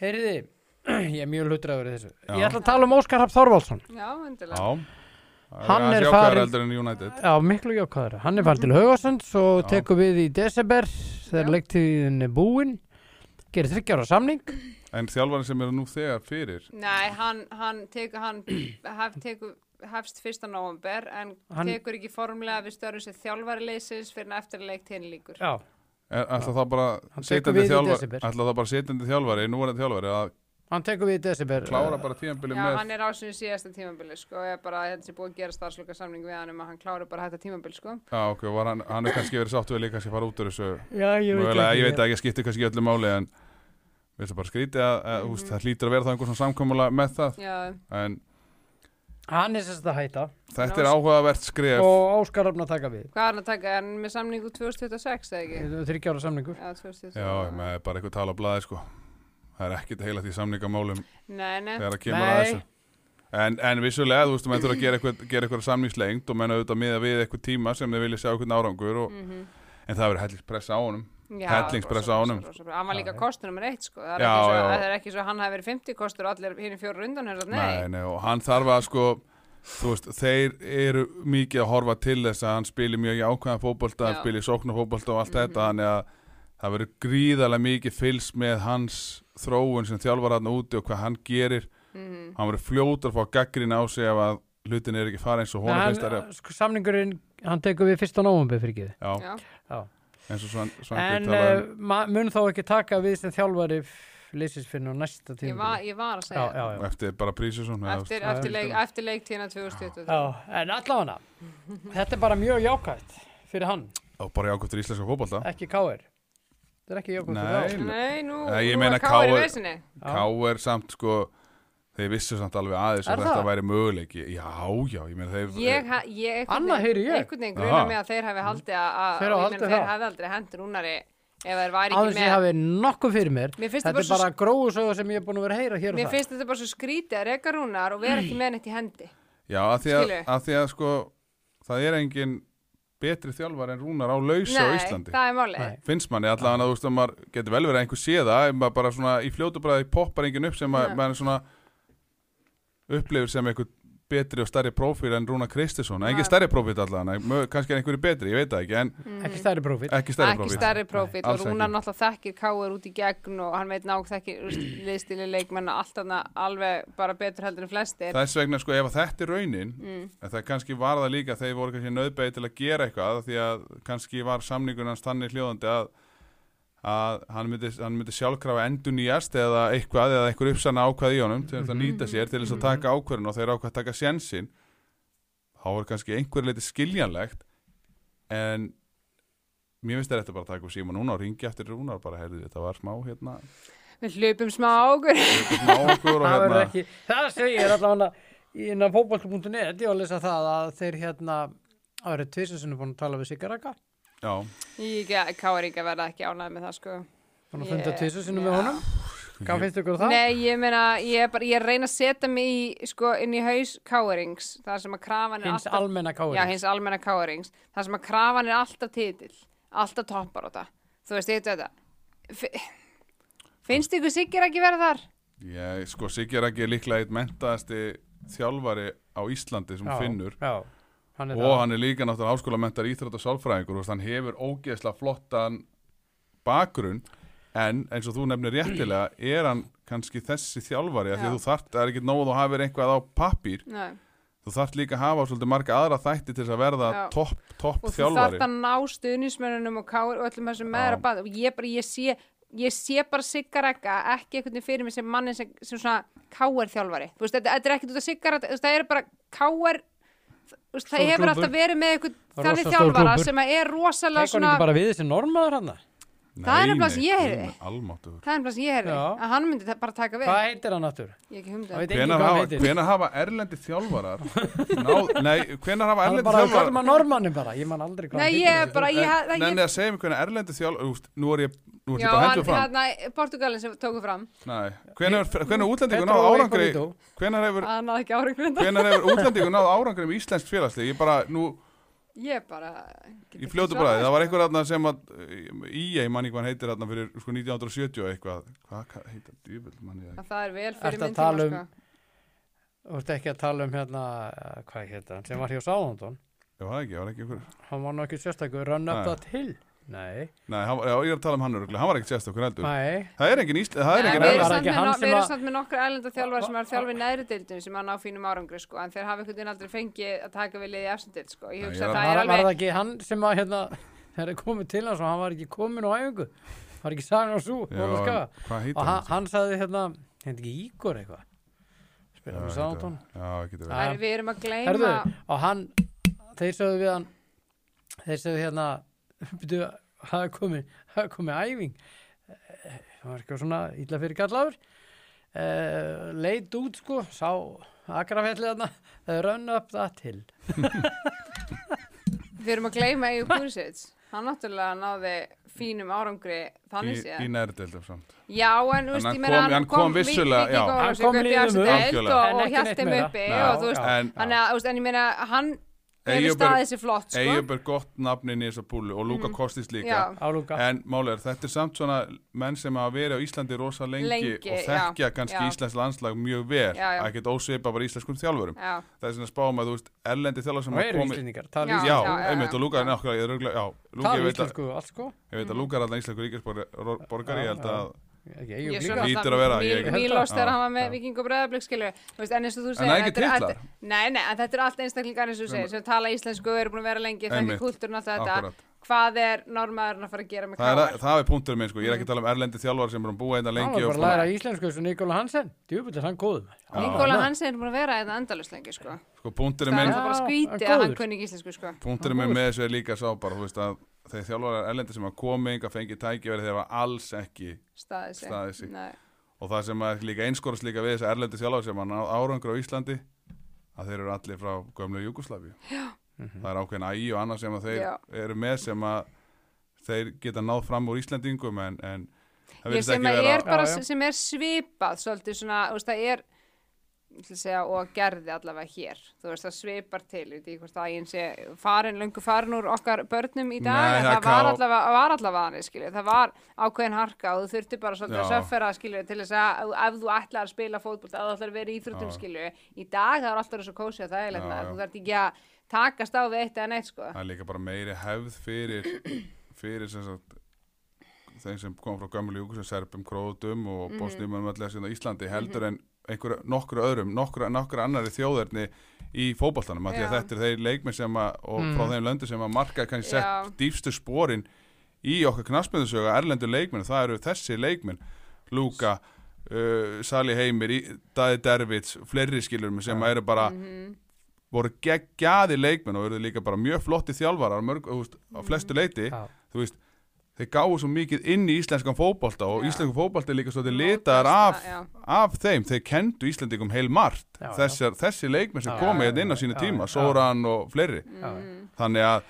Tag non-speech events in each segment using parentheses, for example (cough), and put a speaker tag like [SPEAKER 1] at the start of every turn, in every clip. [SPEAKER 1] Heyriði, (clears throat) ég er mjög hlutræður í þessu Ég
[SPEAKER 2] Já.
[SPEAKER 1] ætla að tala um Óskar Hafn Þorvaldsson
[SPEAKER 3] Já, endilega.
[SPEAKER 2] Já.
[SPEAKER 1] Hann
[SPEAKER 2] aðeins
[SPEAKER 1] er
[SPEAKER 2] jákvæðari
[SPEAKER 1] farinn-
[SPEAKER 2] heldur en United.
[SPEAKER 1] Já, miklu jókvæður Hann er farið til Haugasunds og
[SPEAKER 2] Já.
[SPEAKER 1] tekur við í desember þegar
[SPEAKER 3] Já.
[SPEAKER 1] leiktíðin er búin gerir þryggjára samning
[SPEAKER 2] En þjálfarinn sem er nú þegar fyrir,
[SPEAKER 3] Nei, hann, hann, tek, hann hef, teku, hefst 1. november en
[SPEAKER 1] Hann-
[SPEAKER 3] tekur ekki formlega við störun sem þjálfari leysins fyrir en eftirleik tíðin líkur.
[SPEAKER 1] Já,
[SPEAKER 2] er, e, ætla það bara
[SPEAKER 1] Hann tekur
[SPEAKER 2] setjandi
[SPEAKER 1] við í
[SPEAKER 2] þjálfari,
[SPEAKER 1] desember.
[SPEAKER 2] ætla það bara setjandi þjálfari, nú er það þjálfari að
[SPEAKER 1] hann tekur við í desember
[SPEAKER 2] klára bara tíðanbili
[SPEAKER 3] Já, hann
[SPEAKER 2] með.
[SPEAKER 3] er á sinni síðasta tímabili sko, ég er bara að þetta sé búið að gera starfsloka samning við hann um að hann klári bara þetta tímabili sko.
[SPEAKER 2] Já, ok, var hann, hann er kannski verið sáttu við líka kannski að fara út úr þessu.
[SPEAKER 1] Já, ég veit
[SPEAKER 2] Mögulega,
[SPEAKER 1] ekki
[SPEAKER 2] ég veit ekki að skipti kannski öllu máli en við ætlum bara að skríti að, að mm það hlýtur að vera það einhver svona samkomulega með það
[SPEAKER 3] Já,
[SPEAKER 2] en
[SPEAKER 1] Hann er sérst að hætta
[SPEAKER 2] þetta er áhugavert skref
[SPEAKER 1] og Óskar Hafn að taka við
[SPEAKER 3] hvað er hann að taka? Er hann með samningu 2026 eða ekki?
[SPEAKER 1] þryggjára samningur
[SPEAKER 3] Já, 2026.
[SPEAKER 2] Já, með bara eitthvað tala á blaði sko það er ekkit heila því samningamálum
[SPEAKER 3] Nei, nei.
[SPEAKER 2] þegar það kemur
[SPEAKER 1] Nei.
[SPEAKER 2] að þessu en, en vissulega, þú veist, menn þurfa að gera eitthvað, gera eitthvað samningslengt og menn auðvitað miða við eitthvað tíma sem þeir vilja sjá eitthvað árangur og, en það verður hellingspressa á honum
[SPEAKER 3] Mhm. Já,
[SPEAKER 2] Hellingspressa
[SPEAKER 3] rosa,
[SPEAKER 2] á honum.
[SPEAKER 3] rosa, rosa, rosa. Hann var líka
[SPEAKER 1] Já.
[SPEAKER 3] kostur nummer eitt sko. Það er,
[SPEAKER 2] Já,
[SPEAKER 3] ekki svo,
[SPEAKER 2] já.
[SPEAKER 3] það er ekki svo að hann hafi verið 50 kostur og allir hinn í fjóru rundan hérna.
[SPEAKER 2] nei,
[SPEAKER 3] Nei.
[SPEAKER 2] nei, og hann þarf að sko þú veist, þeir eru mikið að horfa til þess að hann spili mjög í ákvæðan fótbolta hann
[SPEAKER 3] Já.
[SPEAKER 2] spili í sóknarfótbolta og allt þetta þannig að það verður gríðarlega mikið fylst með hans þróun sem þjálfar hann úti og hvað hann gerir
[SPEAKER 3] Mhm.
[SPEAKER 2] hann verður fljótur að fá gaggrín á sig ef að hlutin er ekki fara eins og
[SPEAKER 1] Nei,
[SPEAKER 2] honum
[SPEAKER 1] hann,
[SPEAKER 2] finnst það
[SPEAKER 1] sko, Samningurinn, hann tekur við 1. november fyrir ekki
[SPEAKER 2] já,
[SPEAKER 3] Já.
[SPEAKER 1] Já.
[SPEAKER 2] eins og Svan- Svanbjörn
[SPEAKER 1] En
[SPEAKER 2] talaði
[SPEAKER 1] uh,
[SPEAKER 2] um
[SPEAKER 1] ma- mun þá ekki taka við sem þjálfari leysisfinn á næsta
[SPEAKER 3] Ég,
[SPEAKER 1] tíma
[SPEAKER 3] va ég var að segja.
[SPEAKER 1] já, já, já.
[SPEAKER 2] eftir bara Prísesson eða, þú
[SPEAKER 3] Eftir,
[SPEAKER 2] veist,
[SPEAKER 3] eftir,
[SPEAKER 2] það-
[SPEAKER 3] leik, eftir leiktíðina 2020.
[SPEAKER 1] já, en allavega þetta er bara mjög jákvæmt fyrir hann,
[SPEAKER 2] og bara jákvæmt fyrir íslenska fótbolta
[SPEAKER 1] ekki káir þetta er ekki jákvæmt
[SPEAKER 2] Nei,
[SPEAKER 1] fyrir
[SPEAKER 2] nei.
[SPEAKER 3] Nei, nú,
[SPEAKER 2] Nei, ég
[SPEAKER 3] nú
[SPEAKER 2] meina
[SPEAKER 3] er Káir í
[SPEAKER 2] KR
[SPEAKER 3] vesinni.
[SPEAKER 1] þá
[SPEAKER 2] K.R. samt sko þeir vissu samt alveg aðeins
[SPEAKER 1] Er
[SPEAKER 2] að þetta
[SPEAKER 1] það?
[SPEAKER 2] væri möguleiki já, já, ég meina þeir
[SPEAKER 3] Ég, ha- ég, einhvern
[SPEAKER 1] Annað
[SPEAKER 3] veginn-
[SPEAKER 1] heyri ég. Mhm.
[SPEAKER 3] Einhvern veginn
[SPEAKER 2] Aha.
[SPEAKER 3] gruna mig að þeir hafi haldið að- að
[SPEAKER 1] Þeir hafa
[SPEAKER 3] ég meina,
[SPEAKER 1] haldið það.
[SPEAKER 3] þeir hafi aldrei hendur únari ef þeir væri
[SPEAKER 1] aðeins
[SPEAKER 3] ekki
[SPEAKER 1] ég
[SPEAKER 3] með.
[SPEAKER 1] hafi nokkuð fyrir mér
[SPEAKER 3] Mér finnst
[SPEAKER 1] þetta
[SPEAKER 3] bara
[SPEAKER 1] er
[SPEAKER 3] svo-
[SPEAKER 1] bara gróðsögur sem ég er búin að vera að heyra hér
[SPEAKER 3] Mér
[SPEAKER 1] og það
[SPEAKER 3] finnst þetta bara svo skrítið að reka rúnar og vera ekki með neitt í hendi.
[SPEAKER 2] já, að því að,
[SPEAKER 3] Skilurðu?
[SPEAKER 2] að því að sko það er engin betri þjálfar en rúnar á lausu á
[SPEAKER 3] Nei,
[SPEAKER 2] Íslandi
[SPEAKER 3] það er málið.
[SPEAKER 1] Nei.
[SPEAKER 2] finnst manni allavega að þú veist að maður getur vel verið að einhver sé það en maður bara svona í fljótu bræði poppar engin upp sem maður
[SPEAKER 3] Já.
[SPEAKER 2] maður svona upplifir sem einhver betri og stærri prófíl en Rúna Kristinsson engin
[SPEAKER 3] Já. Mm.
[SPEAKER 2] stærri prófíl allavega, mö- kannski er einhverju betri ég veit það ekki, en
[SPEAKER 1] ekki stærri prófið
[SPEAKER 2] ekki stærri
[SPEAKER 3] ekki
[SPEAKER 2] prófíl
[SPEAKER 3] stærri profil og
[SPEAKER 2] alls
[SPEAKER 3] Rúnar
[SPEAKER 2] ekki.
[SPEAKER 3] náttúrulega þekkir Káur út í gegn og hann veit nák þekkir liðstili leikmenna allt þarna alveg bara betur heldur en flestir
[SPEAKER 2] Þess vegna sko ef að þetta er raunin en það kannski var það líka þegar voru kannski nöðbegi til að gera eitthvað því að kannski var samningun hans þannig hljóðandi að, að hann myndi, hann myndi sjálfkrafa endur nýjast eða eitthvað eða einhver uppsanna ákvað í honum til
[SPEAKER 1] Mhm.
[SPEAKER 2] þess að nýta sér til þess að taka ákvörðin og þeir ákvað að taka sjensin þá er kannski einhver leiti skiljanlegt en mér finnst þetta bara að taka upp síma núna og ringi eftir Rúnar bara heyrðu þetta var smá hérna
[SPEAKER 3] við hlupum smá águr
[SPEAKER 2] smá
[SPEAKER 1] (laughs)
[SPEAKER 2] okkur og
[SPEAKER 1] það verður
[SPEAKER 2] hérna
[SPEAKER 1] ekki, það segir allavega inn á fótbolta.net, ég var að lesa það að þeir hérna, það verður tvisinsunum búin að tala við Sigaraka,
[SPEAKER 2] já,
[SPEAKER 3] Káur ekki að verða ekki ánægð með það sko
[SPEAKER 1] búin að
[SPEAKER 3] Ég-
[SPEAKER 1] funda tvisinsunum með
[SPEAKER 3] Já.
[SPEAKER 1] honum hvað finnst ykkur um það?
[SPEAKER 3] Nei, ég meina, ég er bara, ég er að reyna að setja mig í, sko, inn í haus Káurings það sem að krafan er
[SPEAKER 1] hins
[SPEAKER 3] alltaf
[SPEAKER 1] almenna káir
[SPEAKER 3] Já, hins almenna Káurings það sem að krafan er alltaf titill alltaf toppar á það þú veist, ég veit þetta Fi- Finnst ykkur Siggir ekki verða þar?
[SPEAKER 2] Ég, sko, Siggi Raggi er líklega eitt mentaðasti þjálfari á Íslandi sem hún finnur
[SPEAKER 1] já, hann er
[SPEAKER 2] og hann er líka náttúrulega háskólamentar íþrótt og sálfræðingur og hann hefur ógeðslega flottan bakgrunn en eins og þú nefnir réttilega er hann kannski þessi þjálfari af því
[SPEAKER 3] Já.
[SPEAKER 2] að þú þart, það er ekki nóg að þú hafir eitthvað á pappír
[SPEAKER 3] Nei
[SPEAKER 2] þú þart líka að hafa svolítið marga aðra þætti til þess að verða
[SPEAKER 3] Já.
[SPEAKER 2] topp, topp
[SPEAKER 3] og þú
[SPEAKER 2] þjálfari
[SPEAKER 3] þarft að ná stuðnismönunum og káir og öllum þessum meðra band og ég bara, ég sé ég sé bara siggarakka ekki einhvern veginn fyrir mig sem manni sem, sem svona káir þjálfari þú veist, þetta, þetta er ekkert út af siggarakka þú veist, það eru bara káir þú veist, það
[SPEAKER 1] Stór
[SPEAKER 3] hefur
[SPEAKER 1] klúbbur.
[SPEAKER 3] alltaf verið með einhvern
[SPEAKER 1] Rosa
[SPEAKER 3] þannig
[SPEAKER 1] stór
[SPEAKER 3] þjálfara
[SPEAKER 1] klúbbur.
[SPEAKER 3] sem að er rosalega
[SPEAKER 1] tekur hann
[SPEAKER 3] svona
[SPEAKER 1] ekki bara við þessi normaður hann
[SPEAKER 3] það er nefnilega sem ég heyrði.
[SPEAKER 2] almáttugur
[SPEAKER 3] það er bara sem ég heyrði,
[SPEAKER 1] Já.
[SPEAKER 3] að hann myndi ta- bara taka við
[SPEAKER 1] hvað heitir hann aftur?
[SPEAKER 3] ég ekki um humdum
[SPEAKER 1] það veit enginn
[SPEAKER 2] Hvenar
[SPEAKER 1] hvað hann
[SPEAKER 2] hafa,
[SPEAKER 1] heitir
[SPEAKER 2] hvenar hafa erlendi þjálfarar náð, Nei, hvenar
[SPEAKER 1] hann
[SPEAKER 2] hafa
[SPEAKER 1] er
[SPEAKER 2] erlendi
[SPEAKER 1] bara að
[SPEAKER 2] þjálfarar
[SPEAKER 1] kalla maður normanum bara ég man aldrei hvað
[SPEAKER 3] Nei, ég er bara, ég, það-
[SPEAKER 2] Nenni
[SPEAKER 3] ég,
[SPEAKER 2] að segja mér hvernig erlendu þjálf úst, Nú er ég, nú er
[SPEAKER 3] já,
[SPEAKER 2] ég bara
[SPEAKER 3] hann,
[SPEAKER 2] hendur fram
[SPEAKER 3] hérna, Portugalin sem tóku fram,
[SPEAKER 2] Nei, hvenær, hvenær útlendingur
[SPEAKER 1] Pedro
[SPEAKER 2] náð árangri
[SPEAKER 1] Incognito.
[SPEAKER 2] Hvenær hefur,
[SPEAKER 3] að hann náði ekki árangur
[SPEAKER 2] um hvenær hefur útlendingur náð árangri með íslensk félagsli Ég bara, nú
[SPEAKER 3] ég bara get
[SPEAKER 2] Í
[SPEAKER 3] ekki
[SPEAKER 2] fljótu
[SPEAKER 3] svarað
[SPEAKER 2] bræði, það var einhver aðna sem að Íja, ég manni hvað hann heitir aðna fyrir sko 1970 og eitthvað Hvað hva, heitir djúvel manni það
[SPEAKER 3] þessu. Að það er vel fyrir
[SPEAKER 1] Ertu að
[SPEAKER 3] minn
[SPEAKER 1] tala
[SPEAKER 3] tíma
[SPEAKER 1] um-
[SPEAKER 3] sko.
[SPEAKER 1] Þú ert ekki að tala um hérna, eh, hvað heita hann, sem var hjá Sáðondon.
[SPEAKER 2] Já, það ekki, það var ekki einhver
[SPEAKER 1] Hann var nú ekki sérstakur, run up
[SPEAKER 2] Nei.
[SPEAKER 1] that hill. Nei,
[SPEAKER 2] Nei, hann, var- já, ég er að tala um hann öruglega, hann var ekki sérstakur heldur
[SPEAKER 1] nei,
[SPEAKER 2] Það er engin Ísland, það er
[SPEAKER 3] Nei,
[SPEAKER 2] engin
[SPEAKER 3] við erum
[SPEAKER 1] Var það
[SPEAKER 2] erlend
[SPEAKER 3] samt
[SPEAKER 1] ekki
[SPEAKER 3] með
[SPEAKER 1] hann
[SPEAKER 3] no-
[SPEAKER 1] sem
[SPEAKER 3] Við erum
[SPEAKER 1] að-
[SPEAKER 3] samt með nokkra erlenda þjálfari sem er að þjálfa í næri deildum sem að ná fínum árangri sko, en þeir hafa einhvern veginn aldrei fengið að taka við liðið afsendil sko. Ég
[SPEAKER 2] Nei,
[SPEAKER 3] hugsa
[SPEAKER 2] ég er
[SPEAKER 3] að það
[SPEAKER 1] var,
[SPEAKER 3] er
[SPEAKER 1] var það
[SPEAKER 3] alveg
[SPEAKER 1] ekki hann sem að hérna, (laughs) þegar er komið til hans og hann var ekki komin á æfingu. Var ekki sagðin á svo,
[SPEAKER 2] Já,
[SPEAKER 1] hún að skafa.
[SPEAKER 2] Hvað
[SPEAKER 1] Og
[SPEAKER 2] heitir
[SPEAKER 1] hann,
[SPEAKER 2] hann?
[SPEAKER 1] hann sagði hérna, hérna ekki Ígor eitthvað.
[SPEAKER 2] Já,
[SPEAKER 1] Spilaði með
[SPEAKER 2] heitir
[SPEAKER 1] Sáðondon.
[SPEAKER 2] hann. Já, getur
[SPEAKER 1] Nei.
[SPEAKER 2] verið
[SPEAKER 3] Það er- Við erum að
[SPEAKER 1] Herðu,
[SPEAKER 3] gleyma
[SPEAKER 1] og hann, þeir sögðu við hann, þeir sögðu hérna, (laughs) byrju, það er komið, það er komið æfing, Eh, það var eitthvað svona ítla fyrir gallaður, uh, leit út sko, sá akrafellið þarna, eh, run up that hill.
[SPEAKER 3] Við erum að gleyma Eigur Kursic Hann náttúrulega náði fínum árangri
[SPEAKER 2] Í,
[SPEAKER 3] þannig
[SPEAKER 2] í
[SPEAKER 3] séð
[SPEAKER 2] nærdeldum samt
[SPEAKER 3] Já, en þú veist,
[SPEAKER 2] hann
[SPEAKER 3] ég meina
[SPEAKER 2] kom- hann kom vissulega, já.
[SPEAKER 1] Hann
[SPEAKER 3] Hann
[SPEAKER 1] kom
[SPEAKER 3] kom
[SPEAKER 1] liðum upp.
[SPEAKER 3] líðum upp
[SPEAKER 2] Algjörlega.
[SPEAKER 1] En
[SPEAKER 3] og
[SPEAKER 1] ekki neitt
[SPEAKER 3] hjælt þeim
[SPEAKER 1] meira.
[SPEAKER 3] uppi
[SPEAKER 1] Já,
[SPEAKER 3] og þú
[SPEAKER 2] En
[SPEAKER 3] veist, þannig að, þú veist, en ég meina hann
[SPEAKER 2] Eyjólfur-
[SPEAKER 3] hefur staðið sér flott, sko Mhm.
[SPEAKER 2] Eyjöp er gott nafn inn í þessa púlu og Lúka Kostis líka
[SPEAKER 3] Já,
[SPEAKER 1] Álúka,
[SPEAKER 2] En málega, þetta er samt svona menn sem hafa verið á Íslandi rosa lengi,
[SPEAKER 3] Lengi,
[SPEAKER 2] og þekkja
[SPEAKER 3] já,
[SPEAKER 2] kannski
[SPEAKER 3] já.
[SPEAKER 2] Íslands landslag mjög vel,
[SPEAKER 3] Já, já.
[SPEAKER 2] ekkert ósveipa bara íslenskum þjálfurum.
[SPEAKER 3] já,
[SPEAKER 2] Það er svona spáum að þú veist, erlendi þjálfur sem
[SPEAKER 1] og
[SPEAKER 2] hafa
[SPEAKER 1] eru
[SPEAKER 2] komið...
[SPEAKER 1] íslendingar, tala
[SPEAKER 3] Já,
[SPEAKER 2] Já,
[SPEAKER 1] íslendingar,
[SPEAKER 3] já, já,
[SPEAKER 2] einmitt, og Lúka er
[SPEAKER 3] já. Mhm.
[SPEAKER 2] nákvæmlega, ég er örugglega- já, Lúka, ég
[SPEAKER 1] tala
[SPEAKER 2] veit að,
[SPEAKER 1] íslensku og allt sko,
[SPEAKER 2] ég veit að Lúka er alltaf íslenskur ríkisborgar,
[SPEAKER 1] Já,
[SPEAKER 2] ég held
[SPEAKER 1] já.
[SPEAKER 2] að,
[SPEAKER 1] ekki
[SPEAKER 3] ég
[SPEAKER 1] eigum
[SPEAKER 3] svo
[SPEAKER 1] líka.
[SPEAKER 2] Hlýtur
[SPEAKER 3] náttúrulega
[SPEAKER 2] að vera,
[SPEAKER 3] Míl-
[SPEAKER 2] ég-
[SPEAKER 3] Mílós
[SPEAKER 2] Já,
[SPEAKER 3] þegar hann var
[SPEAKER 1] já.
[SPEAKER 3] með viking og bræðablökk skilur Þú veist, en eins og þú segir
[SPEAKER 2] það er ekki
[SPEAKER 3] þetta
[SPEAKER 2] titlar.
[SPEAKER 3] allt- Nei, nei, en þetta er allt einstaklingar eins og þú segir sem tala íslensku, eru búin að vera lengi
[SPEAKER 2] Einmitt.
[SPEAKER 3] þekki kultúrn alltaf þetta
[SPEAKER 2] Akkúrat.
[SPEAKER 3] Hvað er normaðurinn að fara að gera
[SPEAKER 2] það
[SPEAKER 3] með káar?
[SPEAKER 2] er, það er punktur minn, sko, ég er
[SPEAKER 3] Mhm.
[SPEAKER 2] ekki að tala um erlendi þjálfur sem er búið búa einna
[SPEAKER 1] Hann
[SPEAKER 2] lengi
[SPEAKER 1] var
[SPEAKER 2] og
[SPEAKER 1] bara að
[SPEAKER 2] svona,
[SPEAKER 1] læra íslensku eins og Nikola Hansen, djúbilt er hann góðum.
[SPEAKER 3] Nikola Hansen er búin að vera þetta endalust lengi, sko
[SPEAKER 2] sko, punkturinn
[SPEAKER 3] Það er
[SPEAKER 2] minn,
[SPEAKER 1] Já,
[SPEAKER 3] það bara
[SPEAKER 1] en
[SPEAKER 3] skvítið að hann
[SPEAKER 1] góður.
[SPEAKER 3] kunni ekki íslensku sko.
[SPEAKER 2] punkturinn minn með þessu er líka sá bara, þú veist að þeir þjálfarar erlendi sem hafa komið, að fengi tækifæri þegar var alls ekki
[SPEAKER 3] Staðið sig.
[SPEAKER 2] Staðið sig.
[SPEAKER 3] Nei.
[SPEAKER 2] og það sem er líka einskorast líka við þessi erlendi þjálfari sem hann árangur á Íslandi að þeir eru allir frá gömlu Júkoslavi það er ákveðin ægi og annað sem að þeir
[SPEAKER 3] Já.
[SPEAKER 2] eru með sem að þeir geta náð fram úr Íslandingum en, en það
[SPEAKER 3] Ég
[SPEAKER 2] virðist
[SPEAKER 3] sem
[SPEAKER 2] ekki
[SPEAKER 3] að
[SPEAKER 2] vera
[SPEAKER 3] er bara
[SPEAKER 1] Já, já.
[SPEAKER 3] sem er svipað svolítið svona, þú veist, það er ég ætla að segja, og gerði allavega hér þú veist, það svipar til, við því hvort að ég sé farin, löngu farin úr okkar börnum í dag,
[SPEAKER 2] Nei,
[SPEAKER 3] en
[SPEAKER 2] það
[SPEAKER 3] það var
[SPEAKER 2] ká-
[SPEAKER 3] allavega, var allavega hann, skilju, það var ákveðin harka og þú þurfti bara svolítið
[SPEAKER 2] Já.
[SPEAKER 3] að söffera, skilju, til þess að ef- ef þú ætlar að spila fótbolt, ef þú ætlar að vera í íþróttum,
[SPEAKER 2] Já.
[SPEAKER 3] skilju, í dag það er alltaf svo kósi að það er
[SPEAKER 2] Já, já.
[SPEAKER 3] þú þarft ekki að takast á við eitt eða neitt, sko.
[SPEAKER 2] það er líka bara meiri hefð fyrir (clears throat) fyrir sem sagt þeim sem kom frá gömlu Júkoslavi Serbum, Króðum og mm -hmm.
[SPEAKER 3] Mhm.
[SPEAKER 2] Bosnum allir þessi á Íslandi heldur en einhverja, nokkru öðrum, nokkru, nokkru annari þjóðarni í fótboltanum, af því að
[SPEAKER 3] Já.
[SPEAKER 2] þetta eru þeir leikmið sem að, og frá þeim löndu sem að marka kannski sett
[SPEAKER 3] Já.
[SPEAKER 2] dýfstu sporin í okkar knassmyndusöga erlendu leikminn, það eru þessi leikminn Lúka, uh, Sali Heimir Í- Daði Dervits, fleiri skilurum sem eru bara
[SPEAKER 3] Mhm.
[SPEAKER 2] voru geggjaði leikmenn og eru líka bara mjög flotti þjálfarar mörg, þú veist, á flestu leiti
[SPEAKER 1] Já.
[SPEAKER 2] þú veist, þeir gáu svo mikið inn í íslenskan fótbolta og
[SPEAKER 3] Já.
[SPEAKER 2] íslenskan fótbolta er líka svo þeir
[SPEAKER 3] Mótast
[SPEAKER 2] litaðar af,
[SPEAKER 3] það, já.
[SPEAKER 2] af þeim þeir kendu Íslandikum heil margt
[SPEAKER 1] Já, já.
[SPEAKER 2] Þessar, þessi leikmenn sem
[SPEAKER 1] Já,
[SPEAKER 2] komi
[SPEAKER 1] já,
[SPEAKER 2] hérna inn á
[SPEAKER 1] já,
[SPEAKER 2] sínu
[SPEAKER 1] já, já.
[SPEAKER 2] tíma
[SPEAKER 1] Mm.
[SPEAKER 2] Sóran og fleiri
[SPEAKER 3] Mhm.
[SPEAKER 1] Já.
[SPEAKER 2] þannig að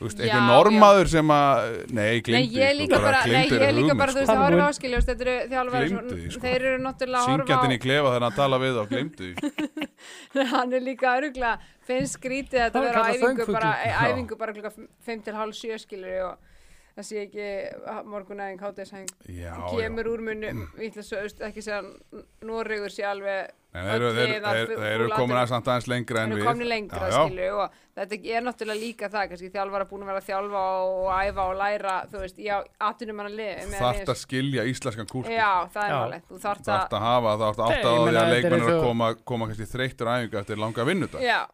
[SPEAKER 2] þú veist, einhver
[SPEAKER 3] Já, já.
[SPEAKER 2] normaður sem að nei,
[SPEAKER 3] Nei,
[SPEAKER 2] glimtu
[SPEAKER 3] ég líka bara, nei, ég líka bara,
[SPEAKER 2] sko.
[SPEAKER 3] þú veist, það
[SPEAKER 1] Hann
[SPEAKER 3] voru
[SPEAKER 1] mun-
[SPEAKER 3] áskiljast, þetta eru þjálfari,
[SPEAKER 2] Gleymdu því,
[SPEAKER 3] sem-
[SPEAKER 2] sko.
[SPEAKER 3] þeir eru náttúrulega að horfa
[SPEAKER 2] syngjandinn í klefa þegar hann tala við þá glimtu
[SPEAKER 3] (laughs)
[SPEAKER 2] því
[SPEAKER 3] á, hann er líka örugla, finnst
[SPEAKER 1] Það
[SPEAKER 3] skrítið að þetta
[SPEAKER 1] er
[SPEAKER 3] vera á
[SPEAKER 1] kallað
[SPEAKER 3] æfingu
[SPEAKER 1] söngfugl.
[SPEAKER 3] bara, e-
[SPEAKER 2] Já.
[SPEAKER 3] æfingu bara klukka 5 til hálf 7 skilur og það sé ekki morgunæðing, hátæðishæng,
[SPEAKER 2] já, já.
[SPEAKER 3] kemur úr munni, ég ætla svo, veist, ekki segja, að Noregur sé alveg,
[SPEAKER 2] Nei, þeir, eru-
[SPEAKER 3] öll
[SPEAKER 2] þeir,
[SPEAKER 3] lið að
[SPEAKER 2] þeir,
[SPEAKER 3] fu-
[SPEAKER 2] þeir eru
[SPEAKER 3] full
[SPEAKER 2] komin
[SPEAKER 3] atvinnu-
[SPEAKER 2] að samt aðeins lengra en
[SPEAKER 3] en
[SPEAKER 2] við
[SPEAKER 3] við komni lengra
[SPEAKER 2] Já, já.
[SPEAKER 3] skilju og þetta er náttúrulega líka það kannski þjálfara búin að vera að þjálfa og, og æfa og læra þú veist, já, atvinnum hann að
[SPEAKER 2] þarft að skilja íslenskan kúltúr
[SPEAKER 3] Já, það er
[SPEAKER 1] Já.
[SPEAKER 3] málið, þú þarft að
[SPEAKER 2] þarft að hafa, þarft að
[SPEAKER 1] Nei,
[SPEAKER 2] átta á
[SPEAKER 1] ég
[SPEAKER 2] því
[SPEAKER 1] meina,
[SPEAKER 2] að
[SPEAKER 1] þetta er
[SPEAKER 2] leikmenn eru
[SPEAKER 1] eins
[SPEAKER 2] að
[SPEAKER 1] og-
[SPEAKER 2] koma, koma kannski þreyttur æfinga eftir langa vinnudag
[SPEAKER 3] Já,